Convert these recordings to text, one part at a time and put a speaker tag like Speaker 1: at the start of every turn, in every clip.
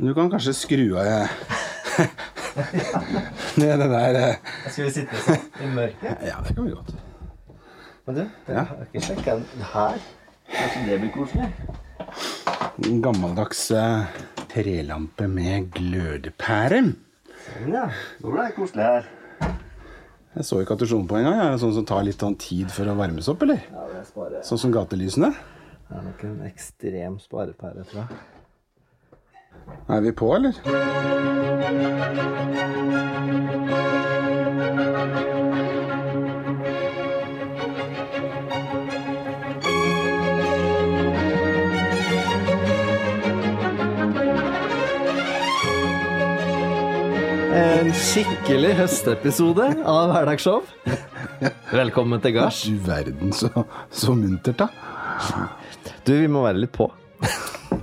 Speaker 1: Men du kan kanskje skru av eh, ned det der eh.
Speaker 2: Skal vi sitte sånn i mørket?
Speaker 1: Ja, det kan vi godt.
Speaker 2: Men du,
Speaker 1: Ja.
Speaker 2: jeg har ikke sjekka den her. Kanskje det blir koselig?
Speaker 1: En gammeldags eh, trelampe med glødepære.
Speaker 2: Sånn, ja. Nå ble det koselig her.
Speaker 1: Jeg så ikke at du slo den på engang. Er det sånn som tar litt sånn tid for å varmes opp, eller?
Speaker 2: Ja, det er spare.
Speaker 1: Sånn som gatelysene?
Speaker 2: Det er nok en ekstrem sparepære, tror jeg.
Speaker 1: Er vi på, eller?
Speaker 2: En skikkelig høstepisode av Hverdagsshow. Velkommen til gards.
Speaker 1: Du verden, så, så muntert, da.
Speaker 2: Du, vi må være litt på.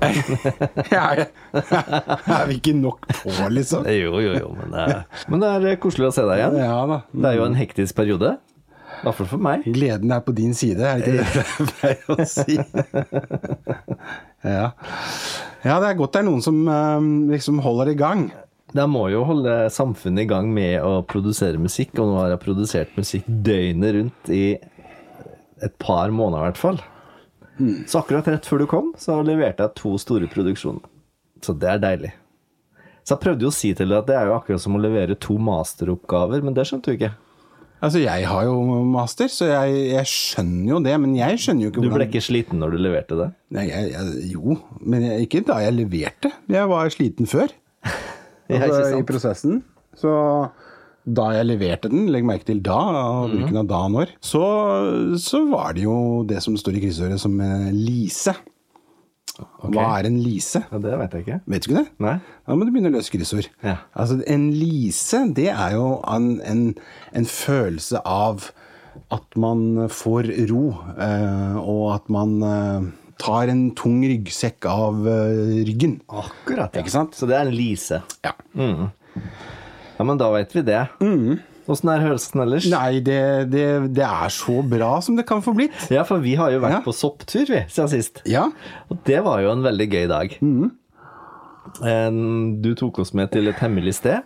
Speaker 1: Er, er vi ikke nok på, liksom?
Speaker 2: Jo, jo, jo, men det er, men det er koselig å se deg igjen.
Speaker 1: Ja da.
Speaker 2: Det er jo en hektisk periode. I hvert fall for meg.
Speaker 1: Gleden er på din side, er det ikke det jeg pleier å si? Ja. ja, det er godt det er noen som eh, liksom holder i gang.
Speaker 2: Jeg må jo holde samfunnet i gang med å produsere musikk, og nå har jeg produsert musikk døgnet rundt i et par måneder i hvert fall.
Speaker 1: Hmm.
Speaker 2: Så akkurat rett før du kom, så leverte jeg to store produksjoner. Så det er deilig. Så jeg prøvde jo å si til deg at det er jo akkurat som å levere to masteroppgaver, men det skjønte du ikke.
Speaker 1: Altså, jeg har jo master, så jeg, jeg skjønner jo det. Men jeg skjønner jo ikke
Speaker 2: Du ble ikke sliten når du leverte det?
Speaker 1: Nei, jeg, jeg, Jo, men jeg, ikke da jeg leverte. Jeg var sliten før.
Speaker 2: Ja, ikke
Speaker 1: Altså, I
Speaker 2: sant?
Speaker 1: prosessen. Så da jeg leverte den, legg merke til da, og
Speaker 2: Mhm.
Speaker 1: bruken av da og når, så, så var det jo det som står i kryssåret som eh, lise. Hva er en lise?
Speaker 2: Ja, det vet jeg ikke.
Speaker 1: Vet du ikke det?
Speaker 2: Nei?
Speaker 1: Da må du begynne å løse kryssord.
Speaker 2: Ja.
Speaker 1: Altså, en lise, det er jo en, en, en følelse av at man får ro, eh, og at man eh, tar en tung ryggsekk av eh, ryggen.
Speaker 2: Akkurat,
Speaker 1: Ikke sant?
Speaker 2: Så det er en lise.
Speaker 1: Ja.
Speaker 2: Ja, men da vet vi det. Åssen er høsten ellers?
Speaker 1: Mm. Nei, det, det, det er så bra som det kan få blitt.
Speaker 2: Ja, for vi har jo vært
Speaker 1: Ja.
Speaker 2: på sopptur, vi, siden sist.
Speaker 1: Ja.
Speaker 2: Og det var jo en veldig gøy dag.
Speaker 1: Mm.
Speaker 2: En- Du tok oss med til et hemmelig sted.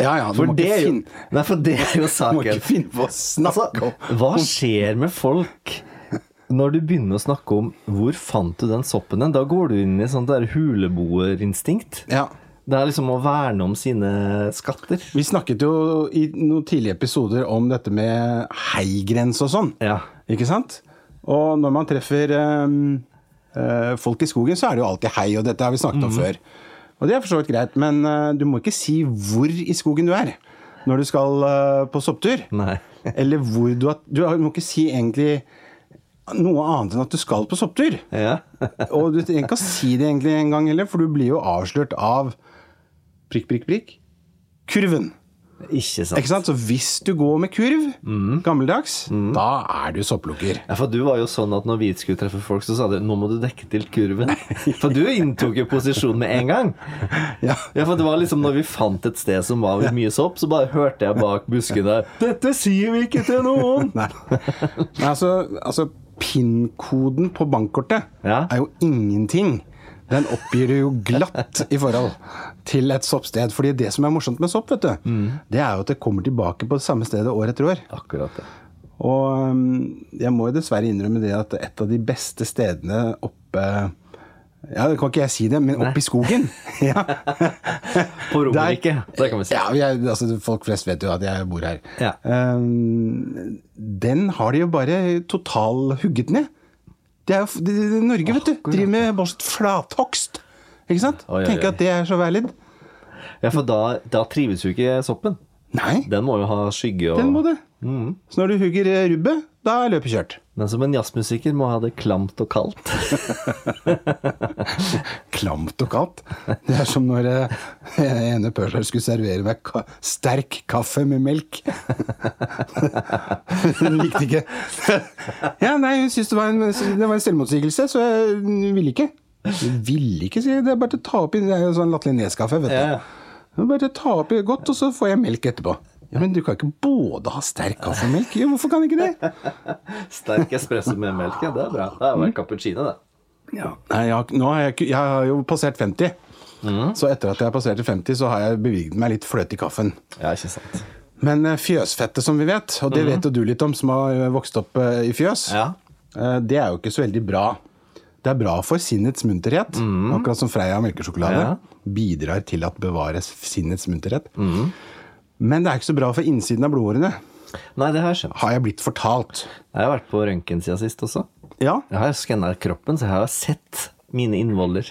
Speaker 1: Ja, ja, du
Speaker 2: For
Speaker 1: må
Speaker 2: det
Speaker 1: ikke
Speaker 2: er jo,
Speaker 1: finne,
Speaker 2: nei, for det er jo
Speaker 1: du må ikke
Speaker 2: saken.
Speaker 1: finne på å snakke
Speaker 2: Altså,
Speaker 1: om
Speaker 2: hva skjer med folk når du begynner å snakke om 'hvor fant du den soppen'? hen? Da går du inn i sånt der huleboerinstinkt.
Speaker 1: ja.
Speaker 2: Det er liksom å verne om sine skatter.
Speaker 1: Vi snakket jo i noen tidlige episoder om dette med heigrense og sånn.
Speaker 2: Ja.
Speaker 1: Ikke sant? Og når man treffer ehm, eh, folk i skogen, så er det jo alltid hei, og dette har vi snakket om før. Og det er for så vidt greit, men eh, du må ikke si hvor i skogen du er når du skal eh, på sopptur.
Speaker 2: Nei.
Speaker 1: Eller hvor du har Du har- må ikke si egentlig noe annet enn at du skal på sopptur.
Speaker 2: Ja.
Speaker 1: Og du trenger ikke å si det egentlig en gang heller, for du blir jo avslørt av prikk, prikk, prikk. Kurven.
Speaker 2: Ikke sant.
Speaker 1: Ikke sant? Så hvis du går med kurv, gammeldags, da er du sopplukker.
Speaker 2: Ja, for du var jo sånn at når vi skulle treffe folk, så sa du 'nå må du dekke til kurven'. For du inntok jo posisjon med en gang.
Speaker 1: Ja.
Speaker 2: Ja, for det var liksom når vi fant et sted som var mye sopp, så bare hørte jeg bak busken der 'Dette sier vi ikke til noen'.
Speaker 1: Nei. Nei, altså, altså PIN-koden på bankkortet
Speaker 2: Ja.
Speaker 1: er jo ingenting. Den oppgir du jo glatt i forhold til et soppsted. Fordi det som er morsomt med sopp, vet du,
Speaker 2: Mm.
Speaker 1: det er jo at det kommer tilbake på det samme stedet år etter år.
Speaker 2: Akkurat det.
Speaker 1: Og um, jeg må jo dessverre innrømme det at et av de beste stedene oppe Ja, det kan ikke jeg si det, men oppe i skogen. ja.
Speaker 2: På Romerike.
Speaker 1: Der-
Speaker 2: Det kan vi si.
Speaker 1: Ja, vi er, altså, folk flest vet jo at jeg bor her.
Speaker 2: Ja.
Speaker 1: Um, den har de jo bare totalhugget ned. Det er jo f- det, det, Norge, vet du. Driver med bare sånn flathogst. Ikke sant?
Speaker 2: Oi, oi,
Speaker 1: Tenker
Speaker 2: oi.
Speaker 1: at det er så værlidd.
Speaker 2: Ja, for da, da trives jo ikke soppen.
Speaker 1: Nei,
Speaker 2: Den må jo ha skygge og
Speaker 1: den må det.
Speaker 2: Mhm.
Speaker 1: Så når du hugger eh, rubbet, da er løpet kjørt.
Speaker 2: Men som en jazzmusiker må ha det klamt og kaldt.
Speaker 1: klamt og kaldt. Det er som når eh, ene pølsa skulle servere meg ka sterk kaffe med melk. Hun likte ikke Ja, nei, hun syntes det var en, det var en selvmotsigelse, så hun ville ikke. Hun ville ikke, sier jeg. Det er bare til å ta oppi Det er jo sånn latterlig neskaffe, vet du.
Speaker 2: Ja, ja.
Speaker 1: Det er Bare til å ta oppi godt, og så får jeg melk etterpå. Ja, Men du kan ikke både ha sterk kaffe og melk. Jo, hvorfor kan ikke det?
Speaker 2: Sterk espresso med melk, Mm. ja, det er bra. Det er jo en cappuccino, det.
Speaker 1: Ja. Nei, jeg, har- nå har jeg, ikke- jeg har jo passert 50.
Speaker 2: Mm.
Speaker 1: Så etter at jeg passerte 50, så har jeg bevilget meg litt fløte i kaffen.
Speaker 2: Ja, ikke sant.
Speaker 1: Men eh, fjøsfettet, som vi vet, og det vet jo du litt om, som har eh, vokst opp eh, i fjøs,
Speaker 2: Mm. Ja.
Speaker 1: eh, det er jo ikke så veldig bra. Det er bra for sinnets munterhet, akkurat som Freia melkesjokolade
Speaker 2: Mm. Ja.
Speaker 1: bidrar til at bevares sinnets munterhet.
Speaker 2: Mm.
Speaker 1: Men det er ikke så bra for innsiden av blodårene,
Speaker 2: Nei, det har jeg skjønt.
Speaker 1: har jeg blitt fortalt.
Speaker 2: Jeg har vært på røntgen siden sist også.
Speaker 1: Ja,
Speaker 2: Jeg har skanna kroppen, så jeg har sett mine innvoller.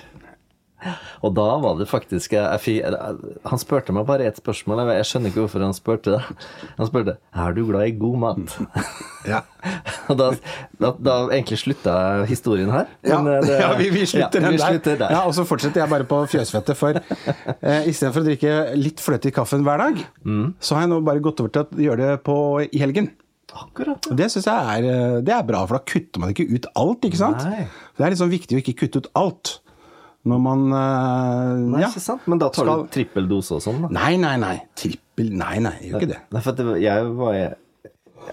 Speaker 2: Og da var det faktisk jeg, jeg, fi- eller, Han spurte meg bare ett spørsmål. Jeg jeg skjønner ikke hvorfor han spurte. det. Han spurte er du glad i god mat.
Speaker 1: ja.
Speaker 2: Og da, da, da egentlig slutta historien her.
Speaker 1: Ja,
Speaker 2: Men, eh, det-
Speaker 1: ja, vi, vi slutter
Speaker 2: ja,
Speaker 1: den
Speaker 2: vi
Speaker 1: der.
Speaker 2: slutter der.
Speaker 1: Ja, og så fortsetter jeg bare på fjøsfettet. For eh, istedenfor å drikke litt fløte i kaffen hver dag,
Speaker 2: Mm.
Speaker 1: så har jeg nå bare gått over til å gjøre det på, i helgen.
Speaker 2: Akkurat.
Speaker 1: Og Det synes jeg er, eh, det er bra, for da kutter man ikke ut alt, ikke sant?
Speaker 2: Nei.
Speaker 1: Det er litt sånn viktig å ikke kutte ut alt når man eh,
Speaker 2: Nei,
Speaker 1: ja.
Speaker 2: ikke sant? Men da tar
Speaker 1: Skal-
Speaker 2: du trippel dose og sånn, da.
Speaker 1: Nei, nei, nei. Trippel Nei, nei, jeg gjør ikke det.
Speaker 2: Nei, for at det, var- jeg var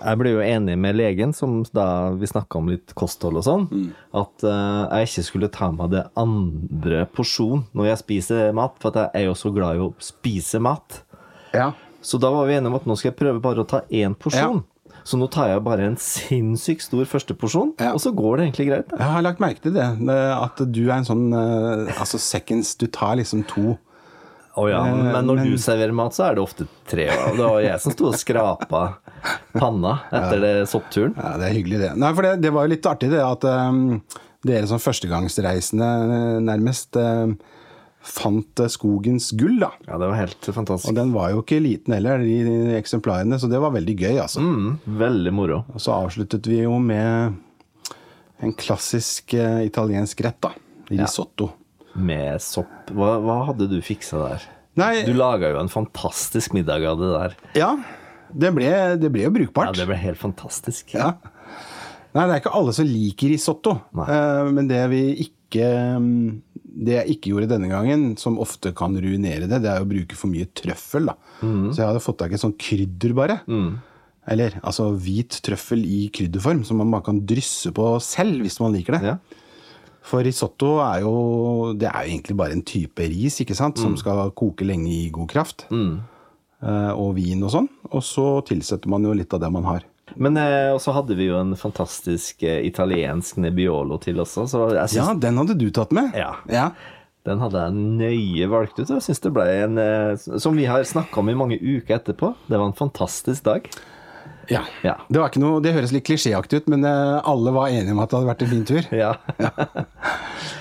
Speaker 2: jeg ble jo enig med legen, som da vi snakka om litt kosthold og sånn,
Speaker 1: Mm.
Speaker 2: at eh, jeg ikke skulle ta meg det andre porsjon når jeg spiser mat, for at jeg er jo så glad i å spise mat.
Speaker 1: Ja.
Speaker 2: Så da var vi enige om at nå skal jeg prøve bare å ta én porsjon. Så nå tar jeg bare en sinnssykt stor første porsjon,
Speaker 1: Ja.
Speaker 2: og så går det egentlig greit. da.
Speaker 1: Jeg har lagt merke til det. eh, At du er en sånn eh, Altså seconds. Du tar liksom to
Speaker 2: Å ja, men
Speaker 1: Eh,
Speaker 2: når
Speaker 1: men-
Speaker 2: du serverer mat, så er det ofte tre. Og det var jeg som sto og skrapa panna etter det soppturen.
Speaker 1: Ja, det er hyggelig, det. Nei, for det, det var jo litt artig, det, at ehm, dere som førstegangsreisende eh, nærmest ehm, fant eh, skogens gull, da.
Speaker 2: Ja, det var helt fantastisk.
Speaker 1: Og den var jo ikke liten heller, de eksemplarene, så det var veldig gøy, altså.
Speaker 2: Mm, veldig moro.
Speaker 1: Og så avsluttet vi jo med en klassisk eh, italiensk rett, da. Risotto.
Speaker 2: Med sopp. Hva, hva hadde du fiksa der?
Speaker 1: Nei,
Speaker 2: Du laga jo en fantastisk middag av det der.
Speaker 1: ja. Det ble, det ble jo
Speaker 2: Ja,
Speaker 1: brukbart.
Speaker 2: Det ble helt fantastisk.
Speaker 1: Ja. Nei, det er ikke alle som liker risotto.
Speaker 2: Nei.
Speaker 1: Eh, Men det vi ikke mm, Det jeg ikke gjorde denne gangen, som ofte kan ruinere det, det er å bruke for mye trøffel. da. Så jeg hadde fått tak i sånn krydder, bare. Eller altså hvit trøffel i krydderform, som man bare kan drysse på selv hvis man liker det.
Speaker 2: Ja.
Speaker 1: For risotto er jo Det er jo egentlig bare en type ris ikke sant? som skal koke lenge i god kraft. Eh, Og vin og sånn. Og så tilsetter man jo litt av det man har.
Speaker 2: Men eh, også hadde vi jo en fantastisk eh, italiensk nebbiolo til også, så jeg syns
Speaker 1: Ja, den hadde du tatt med.
Speaker 2: Ja.
Speaker 1: ja.
Speaker 2: Den hadde jeg nøye valgt ut. og Jeg synes det ble en, eh, Som vi har snakka om i mange uker etterpå. Det var en fantastisk dag.
Speaker 1: Ja.
Speaker 2: Ja.
Speaker 1: Det, var ikke noe, det høres litt klisjéaktig ut, men eh, alle var enige om at det hadde vært en fin tur.
Speaker 2: Ja.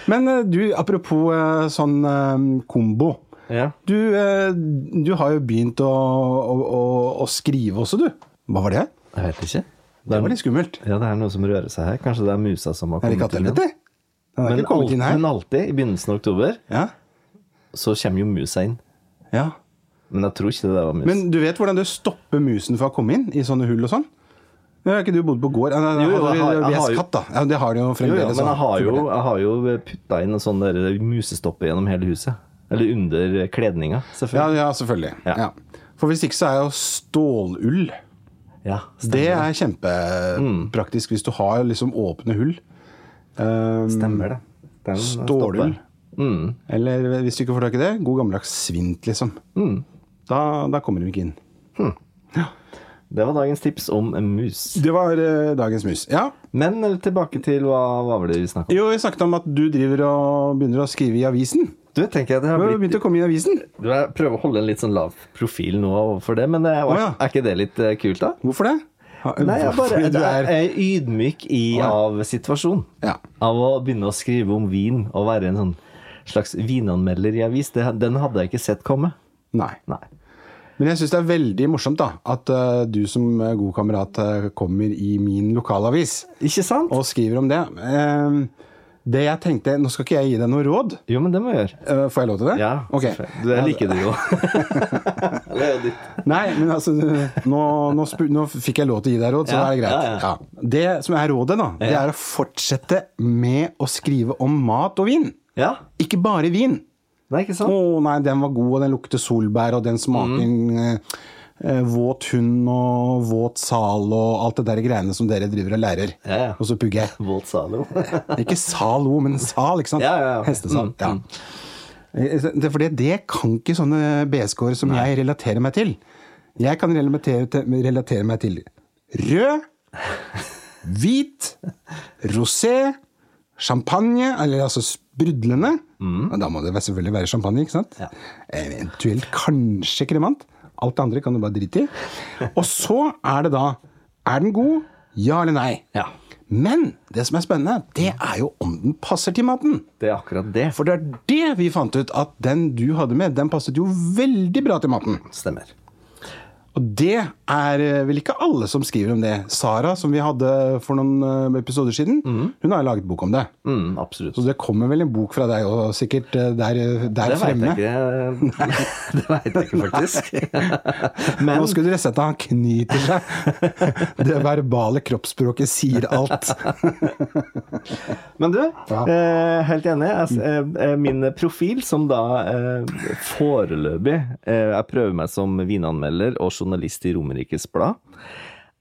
Speaker 1: Men eh, du, apropos eh, sånn eh, kombo.
Speaker 2: ja.
Speaker 1: Du, eh, du har jo begynt å, å, å, å skrive også, du. Hva var det?
Speaker 2: Jeg vet ikke. Det
Speaker 1: Det
Speaker 2: er,
Speaker 1: var litt skummelt.
Speaker 2: ja, det er noe som rører seg her. Kanskje det er musa som har
Speaker 1: Er det
Speaker 2: kommet inn. igjen.
Speaker 1: kattehelvete? Den har
Speaker 2: Men,
Speaker 1: ikke kommet
Speaker 2: alt,
Speaker 1: inn her.
Speaker 2: men alltid, i begynnelsen av oktober,
Speaker 1: Ja.
Speaker 2: så kommer jo musa inn.
Speaker 1: ja.
Speaker 2: Men jeg tror ikke det der var mus.
Speaker 1: Men du vet hvordan du stopper musen fra å komme inn i sånne hull og sånn? Men Har ikke du bodd på gård? Ja,
Speaker 2: Jo, jo, jeg har- jeg har jo-
Speaker 1: katt, da. Ja, det har du jo
Speaker 2: jo, ja,
Speaker 1: fremdeles.
Speaker 2: men jeg
Speaker 1: da.
Speaker 2: har jo, jeg har jo putta inn en sånn der musestopper gjennom hele huset. Eller under kledninga,
Speaker 1: ja,
Speaker 2: selvfølgelig.
Speaker 1: ja, selvfølgelig.
Speaker 2: Ja.
Speaker 1: Ja. For hvis ikke så er jo stålull
Speaker 2: Ja,
Speaker 1: Det
Speaker 2: stemmer,
Speaker 1: er kjempepraktisk hvis du har liksom åpne hull. Um,
Speaker 2: stemmer det. Den
Speaker 1: Stålull.
Speaker 2: stopper. Mm.
Speaker 1: Eller eh, hvis du ikke får tak i det, god gammeldags svint, liksom. Da, da kommer du ikke inn.
Speaker 2: Det var dagens tips om mus.
Speaker 1: Det var eh, dagens mus. Ja.
Speaker 2: Men eh, tilbake til hva, hva var det vi snakket om?
Speaker 1: Jo, vi snakket om at du driver og begynner å skrive i avisen.
Speaker 2: Du, tenker jeg det
Speaker 1: Du
Speaker 2: har
Speaker 1: har jo
Speaker 2: blitt
Speaker 1: begynt å komme i avisen.
Speaker 2: Du, Jeg prøver å holde en litt sånn lav profil nå overfor det, men eh,
Speaker 1: Å, ja.
Speaker 2: er ikke det litt eh, kult, da?
Speaker 1: Hvorfor det? Ha-
Speaker 2: Nei, jeg bare
Speaker 1: Fordi
Speaker 2: jeg
Speaker 1: du
Speaker 2: jeg
Speaker 1: er
Speaker 2: er ydmyk i,
Speaker 1: Å, ja.
Speaker 2: av situasjonen.
Speaker 1: Ja.
Speaker 2: Av å begynne å skrive om vin og være en sånn slags vinanmelder i avis. Det, den hadde jeg ikke sett komme.
Speaker 1: Nei.
Speaker 2: Nei.
Speaker 1: Men jeg syns det er veldig morsomt da, at eh, du som eh, god kamerat eh, kommer i min lokalavis.
Speaker 2: Ikke sant?
Speaker 1: og skriver om det. Ehm, Det jeg tenkte, Nå skal ikke jeg gi deg noe råd.
Speaker 2: Jo, men det må jeg gjøre.
Speaker 1: Eh, Får jeg lov til det?
Speaker 2: Ja.
Speaker 1: Ok.
Speaker 2: selvfølgelig. Du, jeg liker det jo. Eller jo ditt.
Speaker 1: Nei, men altså, nå, nå, spu- nå fikk jeg lov til å gi deg råd, så da
Speaker 2: Ja,
Speaker 1: er det greit.
Speaker 2: ja, ja.
Speaker 1: Det som er rådet, da, det er å fortsette med å skrive om mat og vin.
Speaker 2: Ja.
Speaker 1: Ikke bare vin.
Speaker 2: Nei, ikke
Speaker 1: Å
Speaker 2: sant?
Speaker 1: nei, den var god, og den lukter solbær, og den smaker
Speaker 2: Mm.
Speaker 1: eh, eh, våt hund og våt sal og alt det der greiene som dere driver og lærer.
Speaker 2: Ja, ja.
Speaker 1: Og så pugger jeg.
Speaker 2: Volt Zalo.
Speaker 1: Ikke salo, men sal, ikke sant?
Speaker 2: Ja, ja, ja.
Speaker 1: Hestesal.
Speaker 2: Mm,
Speaker 1: Ja.
Speaker 2: mm.
Speaker 1: Det, for det, det kan ikke sånne BSK-er som jeg relaterer meg til. Jeg kan relatere, til- relatere meg til rød, hvit, rosé, champagne, eller altså sprudlende. Og da må det være- selvfølgelig være champagne, ikke sant?
Speaker 2: Mm.
Speaker 1: Eh,
Speaker 2: Ja.
Speaker 1: Eventuelt kanskje kremant. Alt det andre kan du bare drite i. Og så er det da Er den god? Ja eller nei?
Speaker 2: Ja.
Speaker 1: Men det som er spennende, det er jo om den passer til maten.
Speaker 2: Det er akkurat det.
Speaker 1: For det er det vi fant ut, at den du hadde med, den passet jo veldig bra til maten.
Speaker 2: Stemmer.
Speaker 1: Og det er eh, vel ikke alle som skriver om det. Sara, som vi hadde for noen eh, episoder siden, hun har jo laget bok om det.
Speaker 2: Mm, absolutt.
Speaker 1: Så det kommer vel en bok fra deg òg, sikkert eh, der, eh, der
Speaker 2: Det veit
Speaker 1: fremme.
Speaker 2: jeg ikke. Det vet jeg ikke, faktisk. Men
Speaker 1: Nå skulle dere sett at han knyter seg. Det verbale kroppsspråket sier alt.
Speaker 2: Men du,
Speaker 1: Ja.
Speaker 2: eh, helt enig. Jeg, eh, eh, min profil, som da eh, foreløpig eh, Jeg prøver meg som vinanmelder og journalist i Romerikes Blad.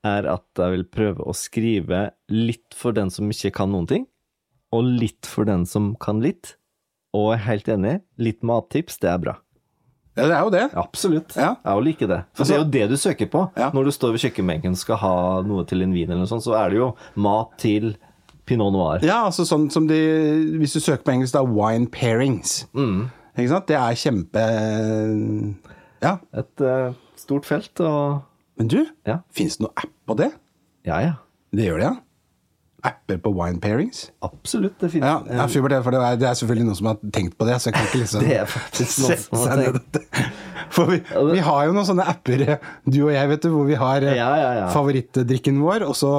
Speaker 2: Er at jeg vil prøve å skrive litt for den som ikke kan noen ting, og litt for den som kan litt. Og jeg er helt enig, litt mattips, det er bra.
Speaker 1: Ja, det er jo det.
Speaker 2: Absolutt.
Speaker 1: Ja. Altså-
Speaker 2: Jeg òg liker det. For det er jo det du søker på.
Speaker 1: Ja.
Speaker 2: Når du står ved kjøkkenbenken og skal ha noe til en vin, eller noe sånt, så er det jo mat til pinot noir.
Speaker 1: Ja, altså sånn som de Hvis du søker på engelsk, da wine pairings.
Speaker 2: Mm.
Speaker 1: Ikke sant? Det er kjempe Ja.
Speaker 2: Et eh, stort felt og
Speaker 1: Men du,
Speaker 2: Ja.
Speaker 1: fins det noen app på det?
Speaker 2: Ja, ja.
Speaker 1: Det gjør det, ja. Apper på wine pairings?
Speaker 2: Absolutt. Det finnes
Speaker 1: Ja, ja Fubert, for det er, det er selvfølgelig noen som har tenkt på det. Så jeg kan ikke liksom
Speaker 2: Det er faktisk noen
Speaker 1: sette
Speaker 2: som har
Speaker 1: seg ned
Speaker 2: tenkt.
Speaker 1: dette. For vi, vi har jo noen sånne apper, du og jeg, vet du, hvor vi har eh,
Speaker 2: Ja, ja, ja.
Speaker 1: favorittdrikken vår, og så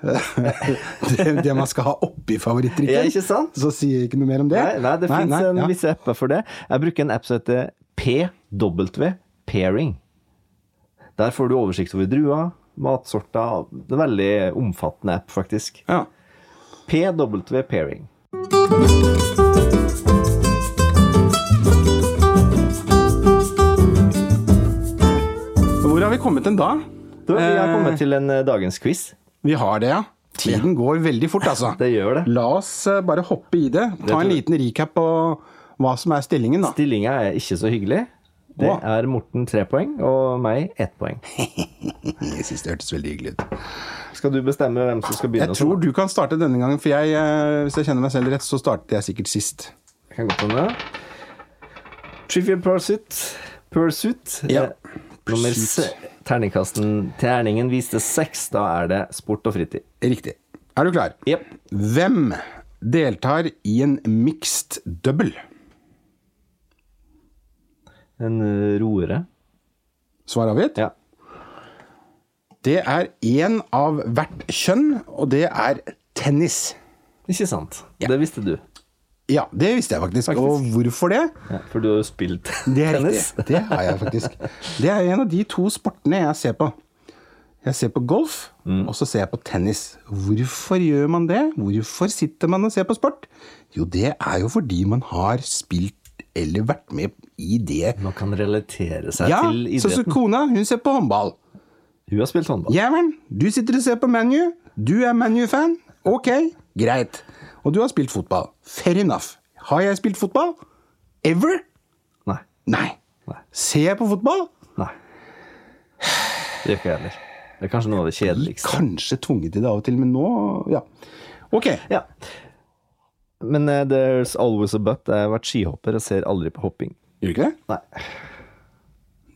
Speaker 1: eh, det, det man skal ha oppi favorittdrikken.
Speaker 2: Ja, ikke sant?
Speaker 1: Så sier jeg ikke noe mer om det.
Speaker 2: Nei, nei, det fins
Speaker 1: nei,
Speaker 2: en
Speaker 1: ja.
Speaker 2: visse apper for det. Jeg bruker en app som heter PW Pairing. Der får du oversikt over druer, matsorter Det er en veldig omfattende app, faktisk.
Speaker 1: Ja.
Speaker 2: PW Pairing.
Speaker 1: Hvor har vi kommet hen da?
Speaker 2: Da vi har
Speaker 1: Eh,
Speaker 2: kommet til en eh, dagens quiz.
Speaker 1: Vi har det, ja. Tiden går veldig fort, altså.
Speaker 2: Det gjør det.
Speaker 1: La oss eh, bare hoppe i det. Ta
Speaker 2: tror
Speaker 1: en
Speaker 2: jeg.
Speaker 1: liten recap på hva som er stillingen, da.
Speaker 2: Stillinga er ikke så hyggelig. Det
Speaker 1: Å.
Speaker 2: er Morten tre poeng og meg ett poeng.
Speaker 1: Jeg synes det hørtes veldig hyggelig ut.
Speaker 2: Skal du bestemme hvem som skal begynne?
Speaker 1: Jeg tror du kan starte denne gangen, for jeg, eh, hvis jeg kjenner meg selv rett, så startet jeg sikkert sist.
Speaker 2: Jeg kan godt hende. Trivial Pursuit. Pursuit.
Speaker 1: Ja.
Speaker 2: Eh, Nummer se,
Speaker 1: Pursuit.
Speaker 2: terningkasten, terningen viste seks. Da er det sport og fritid.
Speaker 1: Riktig. Er du klar?
Speaker 2: Jepp.
Speaker 1: Hvem deltar i en mixed double?
Speaker 2: En eh, roere.
Speaker 1: Svar avgitt?
Speaker 2: Ja.
Speaker 1: Det er én av hvert kjønn, og det er tennis.
Speaker 2: Ikke sant? Det visste du.
Speaker 1: Ja, det visste jeg faktisk. Og hvorfor det?
Speaker 2: Ja, for du har jo spilt
Speaker 1: Det er
Speaker 2: tennis.
Speaker 1: riktig. Det har jeg faktisk. Det er en av de to sportene jeg ser på. Jeg ser på golf, og så ser jeg på tennis. Hvorfor gjør man det? Hvorfor sitter man og ser på sport? Jo, det er jo fordi man har spilt eller vært med i det.
Speaker 2: Man kan relatere seg
Speaker 1: Ja,
Speaker 2: til
Speaker 1: så, så
Speaker 2: idretten.
Speaker 1: kona, hun ser på håndball.
Speaker 2: Hun har spilt håndball.
Speaker 1: Jævlen, du sitter og ser på ManU. Du er ManU-fan. Ok, greit. Og du har spilt fotball. Fair enough. Har jeg spilt fotball? Ever?
Speaker 2: Nei.
Speaker 1: Nei.
Speaker 2: Nei.
Speaker 1: Ser jeg på fotball?
Speaker 2: Nei. Det gjør ikke jeg heller. Det er kanskje noe av det kjedeligste.
Speaker 1: Kanskje tvunget til det av og til, men nå Ja. Ok.
Speaker 2: Ja. Men eh, there's always a but. Jeg har vært skihopper og ser aldri på hopping.
Speaker 1: Gjør du ikke det?
Speaker 2: Nei.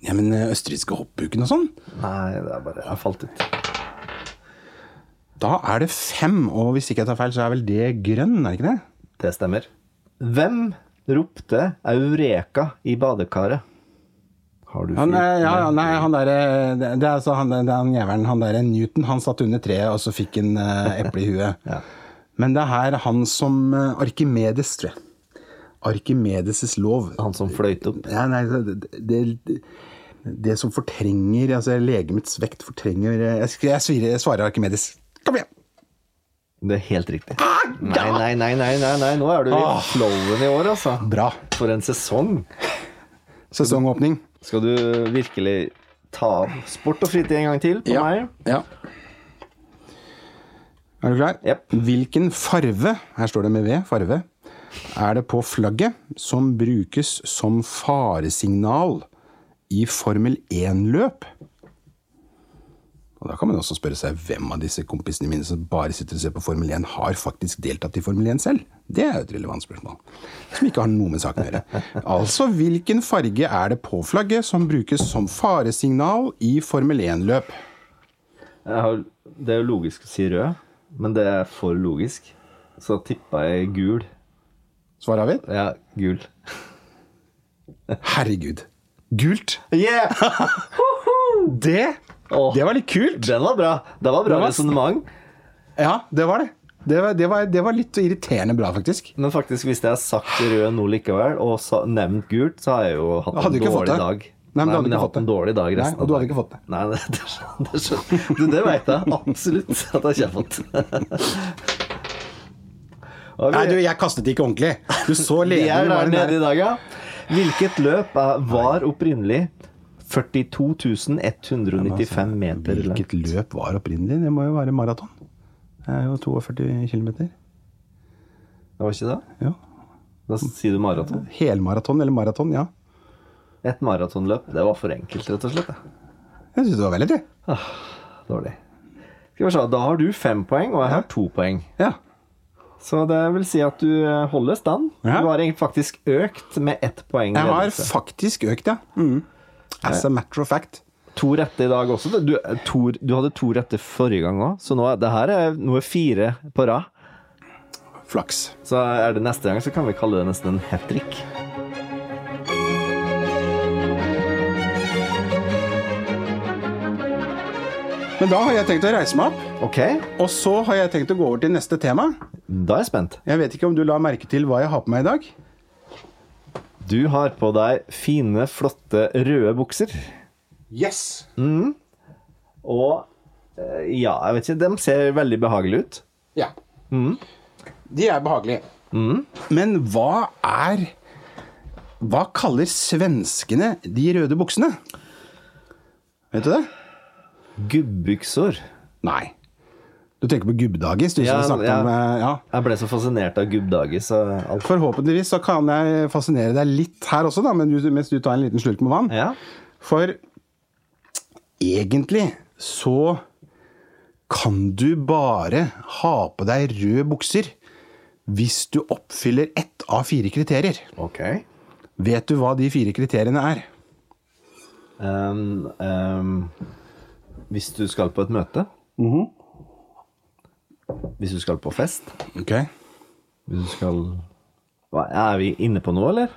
Speaker 1: Ja, men eh, østerrikske hoppuken og sånn?
Speaker 2: Nei, det er bare Jeg har falt ut.
Speaker 1: Da er det fem, og hvis ikke jeg tar feil, så er vel det grønn, er det ikke det?
Speaker 2: Det stemmer. Hvem ropte 'eureka' i badekaret? Har du
Speaker 1: Han,
Speaker 2: fyrt?
Speaker 1: eh, ja, ja, nei, han derre Det det er altså han, det er han jævelen, han derre Newton, han satt under treet, og så fikk han eh, eple i huet.
Speaker 2: Ja.
Speaker 1: Men det er her han som eh, Arkimedes, tror jeg. Arkimedes' lov.
Speaker 2: Han som fløyt opp?
Speaker 1: Ja, nei, det, det, det, det som fortrenger altså Legemets vekt fortrenger eh, Jeg, sk- jeg, svirer, jeg svarer Arkimedes. Kom igjen!
Speaker 2: Det er helt riktig. Nei, nei, nei, nei, nei, nei. nå er du i
Speaker 1: Ah.
Speaker 2: flowen i år, altså.
Speaker 1: Bra.
Speaker 2: For en sesong.
Speaker 1: Sesongåpning.
Speaker 2: Skal du virkelig ta opp sport og fritid en gang til på meg?
Speaker 1: ja. Er du klar?
Speaker 2: Jepp.
Speaker 1: Hvilken farve Her står det med V. Farve. er det på flagget, som brukes som faresignal i Formel 1-løp. Og Da kan man også spørre seg hvem av disse kompisene mine som bare sitter og ser på Formel 1, har faktisk deltatt i Formel 1 selv? Det er jo et relevant spørsmål. Som ikke har noe med saken å gjøre. Altså, hvilken farge er det på flagget som brukes som faresignal i Formel 1-løp?
Speaker 2: Jeg har, det er jo logisk å si rød, men det er for logisk. Så tippa jeg gul.
Speaker 1: Svar avgitt?
Speaker 2: Ja, gul.
Speaker 1: Herregud. Gult.
Speaker 2: Yeah!
Speaker 1: Det,
Speaker 2: Åh.
Speaker 1: det var litt kult.
Speaker 2: Den var bra. Det var
Speaker 1: Den
Speaker 2: bra
Speaker 1: var-
Speaker 2: resonnement.
Speaker 1: Ja, det var det. Det var, det, var, det var litt irriterende bra, faktisk.
Speaker 2: Men faktisk, hvis jeg har sagt rød nå likevel, og sa, nevnt gult, så har jeg jo hatt
Speaker 1: Hadde du
Speaker 2: en
Speaker 1: ikke fått
Speaker 2: dårlig
Speaker 1: det?
Speaker 2: dag.
Speaker 1: Nei, men du hadde ikke
Speaker 2: jeg har
Speaker 1: fått
Speaker 2: hatt en
Speaker 1: det.
Speaker 2: dårlig dag
Speaker 1: Nei,
Speaker 2: resten
Speaker 1: og du hadde
Speaker 2: av dagen.
Speaker 1: ikke fått det.
Speaker 2: Nei, det, det, skjønner- det skjønner Du, det vet jeg absolutt at jeg ikke har fått. Og vi-
Speaker 1: Nei, du, jeg kastet ikke ordentlig. Du så
Speaker 2: Vi er
Speaker 1: lederen
Speaker 2: der
Speaker 1: var den
Speaker 2: nede i
Speaker 1: der.
Speaker 2: dag, ja. Hvilket løp er, var opprinnelig
Speaker 1: altså,
Speaker 2: 42.195 meter langt?
Speaker 1: Hvilket løp var opprinnelig? Det må jo være maraton. Det er jo 42 km.
Speaker 2: Det var ikke det?
Speaker 1: Ja.
Speaker 2: Da sier du maraton.
Speaker 1: Helmaraton eller maraton, ja.
Speaker 2: Et maratonløp. Det var for enkelt, rett og slett.
Speaker 1: Jeg syns det var veldig gøy.
Speaker 2: Dårlig. Skal vi se, Da har du fem poeng, og jeg har to poeng.
Speaker 1: Ja.
Speaker 2: Så det vil si at du eh, holder stand.
Speaker 1: Ja.
Speaker 2: Du har egentlig faktisk økt med ett poeng.
Speaker 1: Jeg har
Speaker 2: ledelse.
Speaker 1: faktisk økt, ja. Mm. As a matter of fact.
Speaker 2: to rette i dag også. Du, eh, to, du hadde to rette forrige gang òg, så nå er, det her er, nå er fire på rad.
Speaker 1: Flaks.
Speaker 2: Så er det neste gang, så kan vi kalle det nesten en hat trick.
Speaker 1: Men da har jeg tenkt å reise meg opp,
Speaker 2: Ok,
Speaker 1: og så har jeg tenkt å gå over til neste tema.
Speaker 2: da er jeg spent.
Speaker 1: Jeg vet ikke om du la merke til hva jeg har på meg i dag?
Speaker 2: Du har på deg fine, flotte røde bukser.
Speaker 1: Yes!
Speaker 2: Og eh, ja, jeg vet ikke, de ser veldig behagelige ut.
Speaker 1: Ja. De er behagelige. Mm. Men hva er Hva kaller svenskene de røde buksene? Vet du det?
Speaker 2: Gubbuksor.
Speaker 1: Nei. Du tenker på gubbdagis? Du som
Speaker 2: Ja,
Speaker 1: har snakket
Speaker 2: ja.
Speaker 1: om eh, ja.
Speaker 2: Jeg ble så fascinert av gubbdage, så alt.
Speaker 1: Forhåpentligvis så kan jeg fascinere deg litt her også, da, men du- mens du tar en liten slurk med vann.
Speaker 2: Ja.
Speaker 1: For egentlig så kan du bare ha på deg røde bukser hvis du oppfyller ett av fire kriterier.
Speaker 2: Ok.
Speaker 1: Vet du hva de fire kriteriene er?
Speaker 2: Um, um, hvis du skal på et møte. Mhm. Hvis du skal på fest.
Speaker 1: Ok.
Speaker 2: Hvis du skal... Hva, er vi inne på noe, eller?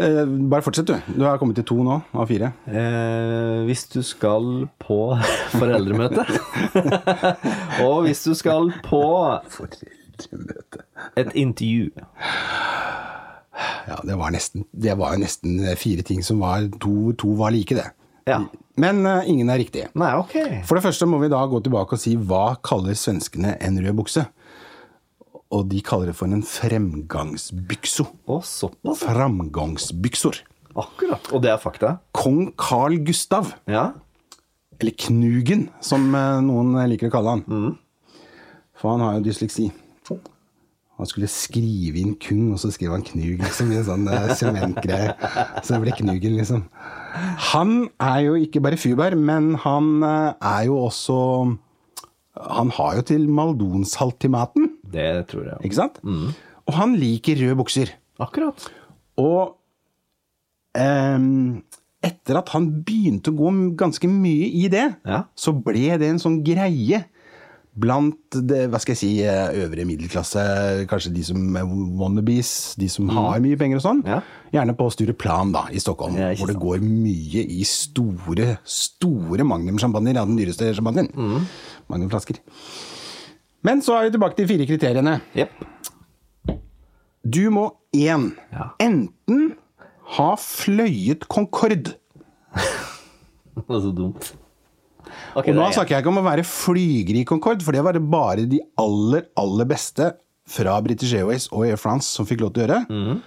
Speaker 1: Eh, bare fortsett, du. Du har kommet til to nå av fire.
Speaker 2: Eh, hvis du skal på foreldremøte. og hvis du skal på
Speaker 1: Foreldremøte.
Speaker 2: et intervju.
Speaker 1: Ja, det var, nesten, det var jo nesten fire ting som var To, to var like, det.
Speaker 2: Ja.
Speaker 1: Men eh, ingen er riktige.
Speaker 2: Nei, ok.
Speaker 1: For det første må vi da gå tilbake og si hva kaller svenskene en rød bukse? Og de kaller det for en fremgangsbykso.
Speaker 2: Å, såpass.
Speaker 1: Framgangsbyksor.
Speaker 2: Akkurat. Og det er fakta.
Speaker 1: Kong Carl Gustav,
Speaker 2: Ja.
Speaker 1: eller Knugen, som eh, noen liker å kalle han. For han har jo dysleksi. Han skulle skrive inn Kung, og så skrev han Knug, liksom, i en sånn eh, sementgreie. Så det ble Knugen, liksom. Han er jo ikke bare fyrberg, men han eh, er jo også Han har jo til maldonsalt til maten,
Speaker 2: Det tror jeg.
Speaker 1: ikke sant? Og han liker røde bukser.
Speaker 2: Akkurat.
Speaker 1: Og em, etter at han begynte å gå ganske mye i det,
Speaker 2: Ja.
Speaker 1: så ble det en sånn greie blant det, hva skal jeg si, eh, øvre middelklasse, kanskje de som er wannabes, de som har mye penger og sånn.
Speaker 2: Mm. Ja.
Speaker 1: Gjerne på Stureplan da, i Stockholm,
Speaker 2: Ja, ikke
Speaker 1: hvor det går mye i store, store magnumsjampanjer, ja, den dyreste sjampanjen.
Speaker 2: Mm.
Speaker 1: Magnumflasker. Men så er vi tilbake til fire kriteriene.
Speaker 2: Jepp.
Speaker 1: Du må én
Speaker 2: Ja.
Speaker 1: enten ha fløyet Concorde.
Speaker 2: Det var så dumt. Ok,
Speaker 1: Og nå
Speaker 2: det er-
Speaker 1: snakker jeg ikke om å være flyger i Concorde, for det var det bare de aller, aller beste fra British Airways og Air France som fikk lov til å gjøre.
Speaker 2: Mhm.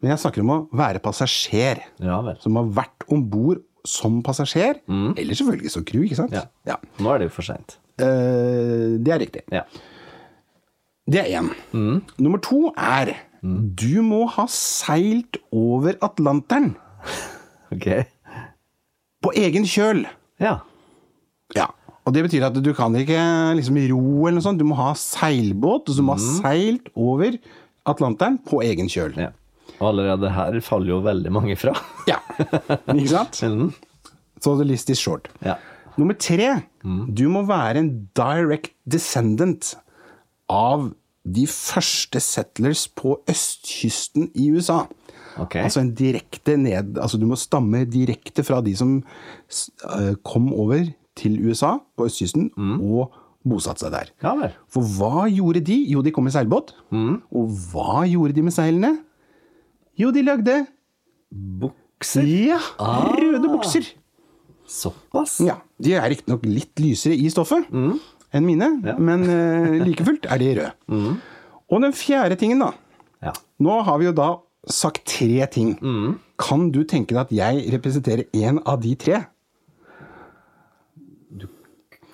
Speaker 1: Men jeg snakker om å være passasjer.
Speaker 2: Ja vel.
Speaker 1: Som har vært om bord som passasjer, eller selvfølgelig som crew, ikke sant?
Speaker 2: Mhm. Ja. Nå er det jo for seint.
Speaker 1: Eh, det er riktig.
Speaker 2: Ja. Mhm.
Speaker 1: Det er én. Nummer to er Du må ha seilt over Atlanteren
Speaker 2: Ok.
Speaker 1: på egen kjøl.
Speaker 2: Ja.
Speaker 1: Ja. Og det betyr at du kan ikke liksom ro eller noe sånt. Du må ha seilbåt, og du må ha seilt over Atlanteren på egen kjøl.
Speaker 2: ja. Og allerede her faller jo veldig mange fra.
Speaker 1: Ja. Ikke sant?
Speaker 2: Mhm.
Speaker 1: So the list is short.
Speaker 2: Ja.
Speaker 1: Nummer tre. Du må være en direct descendant av de første settlers på østkysten i USA.
Speaker 2: Ok.
Speaker 1: Altså en direkte ned Altså du må stamme direkte fra de som s- eh, kom over til USA på østkysten og bosatte seg der.
Speaker 2: Ja vel.
Speaker 1: For hva gjorde de? Jo, de kom i seilbåt.
Speaker 2: Mm.
Speaker 1: Og hva gjorde de med seilene? Jo, de lagde
Speaker 2: Bukser. Ah.
Speaker 1: ja, røde bukser.
Speaker 2: Såpass.
Speaker 1: Ja, De er riktignok litt lysere i stoffet
Speaker 2: Mm.
Speaker 1: enn mine, men eh, like fullt er de røde.
Speaker 2: Mm.
Speaker 1: Og den fjerde tingen, da.
Speaker 2: Ja.
Speaker 1: Nå har vi jo da sagt tre ting.
Speaker 2: Mm.
Speaker 1: Kan du tenke deg at jeg representerer én av de tre?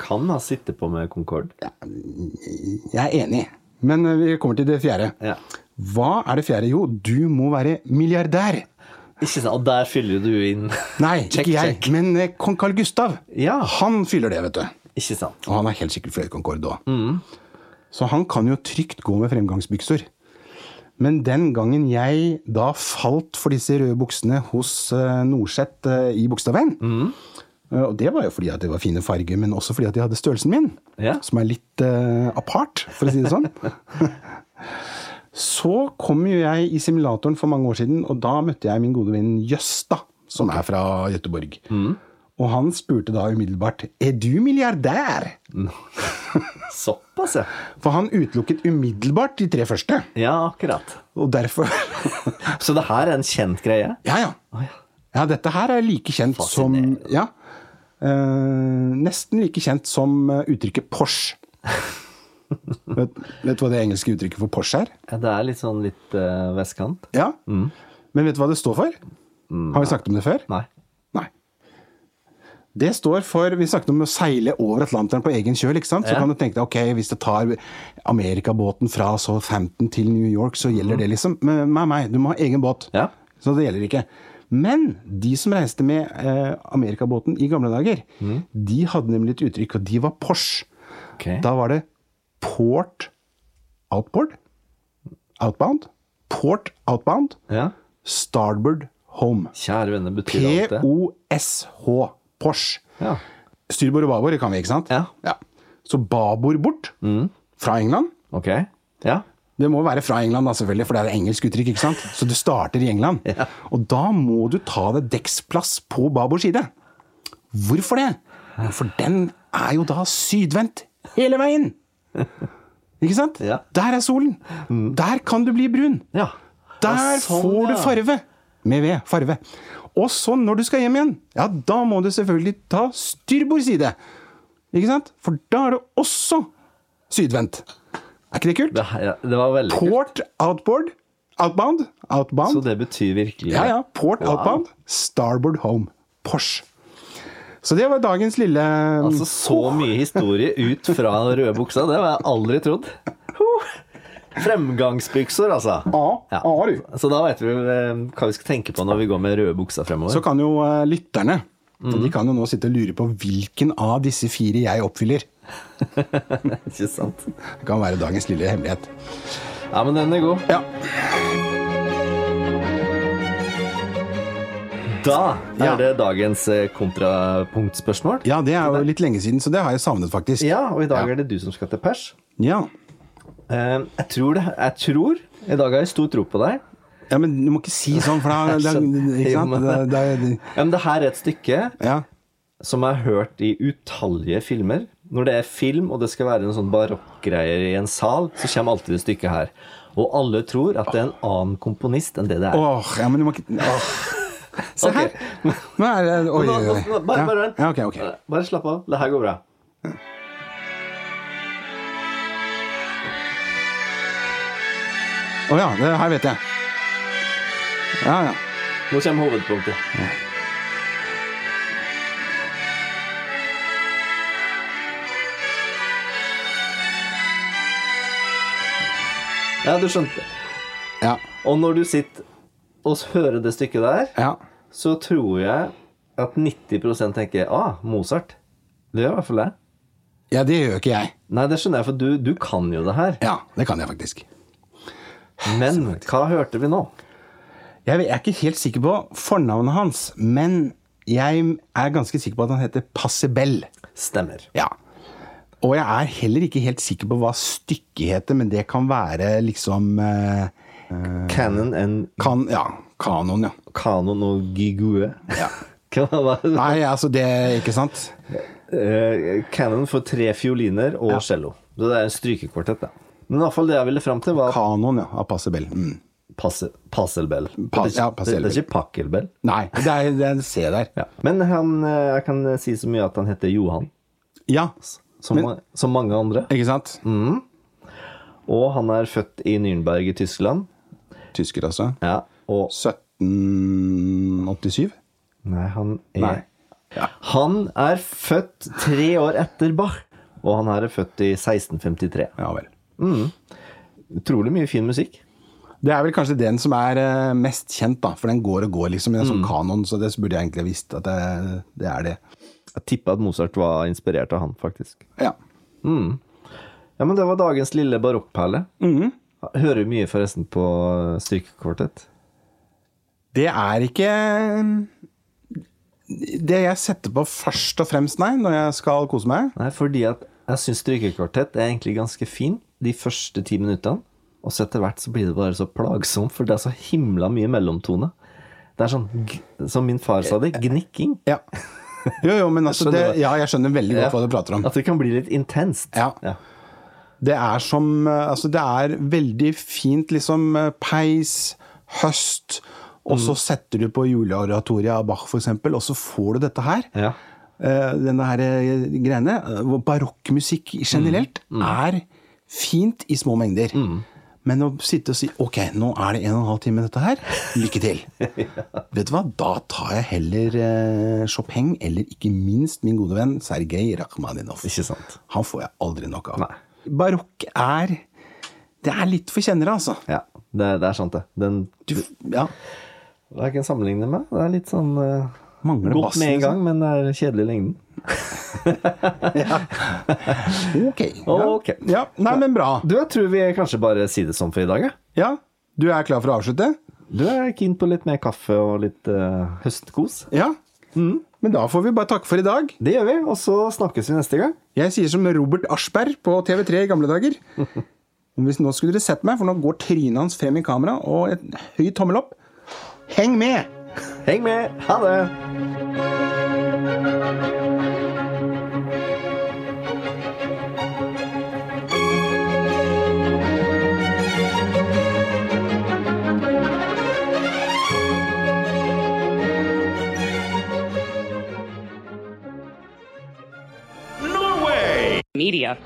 Speaker 2: Kan ha sittet på med Concorde.
Speaker 1: Jeg er enig, men eh, vi kommer til det fjerde.
Speaker 2: Ja.
Speaker 1: Hva er det fjerde? Jo, du må være milliardær.
Speaker 2: Ikke sant, og der fyller du inn
Speaker 1: Nei,
Speaker 2: Check,
Speaker 1: ikke jeg,
Speaker 2: check.
Speaker 1: men eh, kong Carl Gustav.
Speaker 2: Ja.
Speaker 1: Han fyller det, vet du.
Speaker 2: Ikke sant.
Speaker 1: Og han er helt sikkert fløyet Concorde òg. Så han kan jo trygt gå med fremgangsbukser. Men den gangen jeg da falt for disse røde buksene hos eh, Norseth eh, i Bogstadveien eh, Og det var jo fordi at det var fine farger, men også fordi at jeg hadde størrelsen min.
Speaker 2: Ja.
Speaker 1: Som er litt eh, apart, for å si det sånn. Så kom jo jeg i simulatoren for mange år siden, og da møtte jeg min gode venn Jøsta, som er fra Gøteborg. Og han spurte da umiddelbart Er du milliardær?
Speaker 2: Såpass, ja.
Speaker 1: For han utelukket umiddelbart de tre første.
Speaker 2: Ja, akkurat.
Speaker 1: Og derfor
Speaker 2: Så det her er en kjent greie?
Speaker 1: Ja, ja. Ja, dette her er like kjent som Ja. Eh, nesten like kjent som eh, uttrykket Porsche. vet, vet du hva det engelske uttrykket for Porsche er?
Speaker 2: Ja, det er litt sånn litt eh, vestkant?
Speaker 1: Ja. Men vet du hva det står for? Har vi snakket om det før?
Speaker 2: Nei.
Speaker 1: Nei. Det står for Vi snakket om å seile over Atlanteren på egen kjøl. ikke sant? Så
Speaker 2: Ja.
Speaker 1: kan du tenke deg ok, hvis du tar amerikabåten fra Southampton til New York, så gjelder det liksom. Men nei, nei, du må ha egen båt.
Speaker 2: Mm. Ja.
Speaker 1: Så det gjelder ikke. Men de som reiste med eh, amerikabåten i gamle dager,
Speaker 2: Mm.
Speaker 1: de hadde nemlig et uttrykk, og de var Porsche.
Speaker 2: Ok.
Speaker 1: Da var det port outboard, outbound, port outbound,
Speaker 2: Ja.
Speaker 1: starboard home.
Speaker 2: Kjære venner, betyr alt det?
Speaker 1: P-O-S-H. Porsche.
Speaker 2: Ja.
Speaker 1: Styrbord og babord det kan vi, ikke sant?
Speaker 2: Ja. Mm.
Speaker 1: Så babord bort. Fra England.
Speaker 2: Ok. Ja.
Speaker 1: Det må være fra England, da, selvfølgelig, for det er et engelsk uttrykk. ikke sant? Så du starter i England. Og da må du ta deg dekksplass på babord side. Hvorfor det? For den er jo da sydvendt hele veien! Ikke sant?
Speaker 2: Ja. Mm.
Speaker 1: Der er solen! Der kan du bli brun!
Speaker 2: Ja.
Speaker 1: Der
Speaker 2: Ja, sånn,
Speaker 1: får du
Speaker 2: ja.
Speaker 1: farve! Med ved. Farve. Og så, når du skal hjem igjen, ja, da må du selvfølgelig ta styrbord side. Ikke sant? For da er det også sydvendt. Er ikke det kult?
Speaker 2: Det, her- ja, det var veldig kult.
Speaker 1: Port outboard. Outbound. Outbound.
Speaker 2: Så det betyr virkelig
Speaker 1: Ja, ja. Port outbound. Starboard home. Porsche. Så det var dagens lille
Speaker 2: Altså, så mye historie ut fra den røde buksa, det har jeg aldri trodd. Huh. Fremgangsbukser, altså.
Speaker 1: Ja, ja, du.
Speaker 2: Så da vet vi eh, hva vi skal tenke på når vi går med røde bukser fremover.
Speaker 1: Så kan jo eh, lytterne De
Speaker 2: Mm.
Speaker 1: kan jo nå sitte og lure på hvilken av disse fire jeg oppfyller.
Speaker 2: Ikke sant?
Speaker 1: Det kan være dagens lille hemmelighet.
Speaker 2: Ja, men den er god.
Speaker 1: Ja.
Speaker 2: Da er
Speaker 1: Ja.
Speaker 2: det dagens eh, kontrapunktspørsmål.
Speaker 1: Ja, det er jo litt lenge siden, så det har jeg savnet, faktisk.
Speaker 2: Ja, og i dag er det du som skal til pers.
Speaker 1: Ja,
Speaker 2: Eh, Jeg tror det. Jeg tror I dag har jeg stor tro på deg.
Speaker 1: ja men du må ikke si sånn, for da da-
Speaker 2: skjønner.
Speaker 1: Ikke sant?
Speaker 2: Jo,
Speaker 1: Da,
Speaker 2: men-
Speaker 1: da,
Speaker 2: Ja, men det her er et stykke
Speaker 1: ja.
Speaker 2: som jeg har hørt i utallige filmer. Når det er film, og det skal være en sånn barokkgreier i en sal, så kommer alltid det stykket her. Og alle tror at det er en annen komponist enn det det er.
Speaker 1: Åh, ja, men du må ikke åh. Se
Speaker 2: Ok.
Speaker 1: her! Nå er det Oi,
Speaker 2: Nå-
Speaker 1: oi,
Speaker 2: nå-
Speaker 1: oi.
Speaker 2: nå- Bare, bare vent.
Speaker 1: Ja, ok, ok.
Speaker 2: Eh, Bare slapp av. Det her går bra.
Speaker 1: Å ja, det her vet jeg. Ja, ja.
Speaker 2: Nå kommer hovedpunktet. Ja, du skjønte.
Speaker 1: Ja.
Speaker 2: Og når du sitter og hører det stykket der,
Speaker 1: Ja.
Speaker 2: så tror jeg at 90 tenker ah, Mozart. Det gjør i hvert fall jeg.
Speaker 1: ja, det gjør ikke jeg.
Speaker 2: Nei, det skjønner jeg, for du, du kan jo det her.
Speaker 1: Ja, det kan jeg faktisk.
Speaker 2: Men hva hørte vi nå?
Speaker 1: Jeg vet- jeg er ikke helt sikker på fornavnet hans, men jeg er ganske sikker på at han heter Passebell.
Speaker 2: Stemmer.
Speaker 1: Ja. Og jeg er heller ikke helt sikker på hva stykket heter, men det kan være liksom eh,
Speaker 2: Canon and
Speaker 1: kan, Ja, kanon, ja.
Speaker 2: Canon og Gigue.
Speaker 1: Ja.
Speaker 2: Hva var det?
Speaker 1: Nei, altså det Ikke sant?
Speaker 2: Eh, Canon for tre fioliner og cello. Så det er en strykekvartett, da. Men i hvert fall det jeg ville fram til, var
Speaker 1: Kanon, ja. Av Passebell. Mm.
Speaker 2: passe, Passelbell.
Speaker 1: Pas-
Speaker 2: det, er
Speaker 1: ja,
Speaker 2: ikke- det,
Speaker 1: Passelbell.
Speaker 2: det er ikke Pakkelbell.
Speaker 1: Nei, det er det er en C der.
Speaker 2: Ja. Men han, eh, jeg kan si så mye at han heter Johan,
Speaker 1: Ja, Mm.
Speaker 2: som, som mange andre.
Speaker 1: ikke sant?
Speaker 2: Og han er født i Nürnberg i Tyskland.
Speaker 1: Tysker, altså.
Speaker 2: Ja, og
Speaker 1: 1787?
Speaker 2: Nei, han er
Speaker 1: Nei. Ja.
Speaker 2: Han er født tre år etter Bach, og han her er født i 1653.
Speaker 1: Ja vel.
Speaker 2: Utrolig mye fin musikk.
Speaker 1: Det er vel kanskje den som er eh, mest kjent, da. For den går og går, liksom. I en sånn kanon, så det burde jeg egentlig visst at det, det er det.
Speaker 2: Jeg tipper at Mozart var inspirert av han, faktisk.
Speaker 1: Ja.
Speaker 2: Ja, men det var dagens lille barokkperle. Hører mye forresten på eh, strykekvartett.
Speaker 1: Det er ikke det jeg setter på først og fremst, nei, når jeg skal kose meg.
Speaker 2: Nei, fordi at jeg syns strykekvartett er egentlig ganske fin de første ti minuttene. Og så etter hvert så blir det bare så plagsomt, for det er så himla mye mellomtone. Det er sånn, g- som min far sa det, gnikking.
Speaker 1: Ja. Jo, jo, men altså det,
Speaker 2: Skjønner du?
Speaker 1: Ja, jeg skjønner veldig godt hva du prater om.
Speaker 2: At det kan bli litt intenst.
Speaker 1: Ja.
Speaker 2: Ja.
Speaker 1: Det er som eh, Altså, det er veldig fint, liksom eh, peis, høst, og så setter du på juleoratoriet av Bach, f.eks., og så får du dette her.
Speaker 2: Ja.
Speaker 1: Eh, Denne her eh, greiene. eh, hvor Barokkmusikk generelt
Speaker 2: Mm.
Speaker 1: er fint i små mengder. Men å sitte og si ok, nå er det en og en halv time dette her, lykke til. Vet du hva, da tar jeg heller eh, Chopin, eller ikke minst min gode venn Sergej Rakhmaninov.
Speaker 2: Ikke sant.
Speaker 1: Han får jeg aldri nok av.
Speaker 2: Nei.
Speaker 1: Barokk er Det er litt for kjennere, altså.
Speaker 2: Ja, det, det er sant, det. Den
Speaker 1: Du, ja,
Speaker 2: jeg kan sammenligne med. Det er litt sånn eh,
Speaker 1: Mangler
Speaker 2: Godt
Speaker 1: bassen,
Speaker 2: med en
Speaker 1: liksom.
Speaker 2: gang, men det er kjedelig i lengden.
Speaker 1: ok. Ja.
Speaker 2: Ok.
Speaker 1: Ja, nei, men bra.
Speaker 2: Du, jeg tror vi kanskje bare sier det sånn for i dag, jeg.
Speaker 1: Ja, Du er klar for å avslutte?
Speaker 2: Du er keen på litt mer kaffe og litt eh, høstkos.
Speaker 1: Ja. Mm. Men da får vi bare takke for i dag.
Speaker 2: Det gjør vi, og så snakkes vi neste gang.
Speaker 1: Jeg sier som Robert Aschberg på TV3 i gamle dager. Om hvis Nå skulle dere sett meg, for nå går trynet hans frem i kamera, og et høy tommel opp. Heng med!
Speaker 2: Heng med! Ha det!
Speaker 3: media.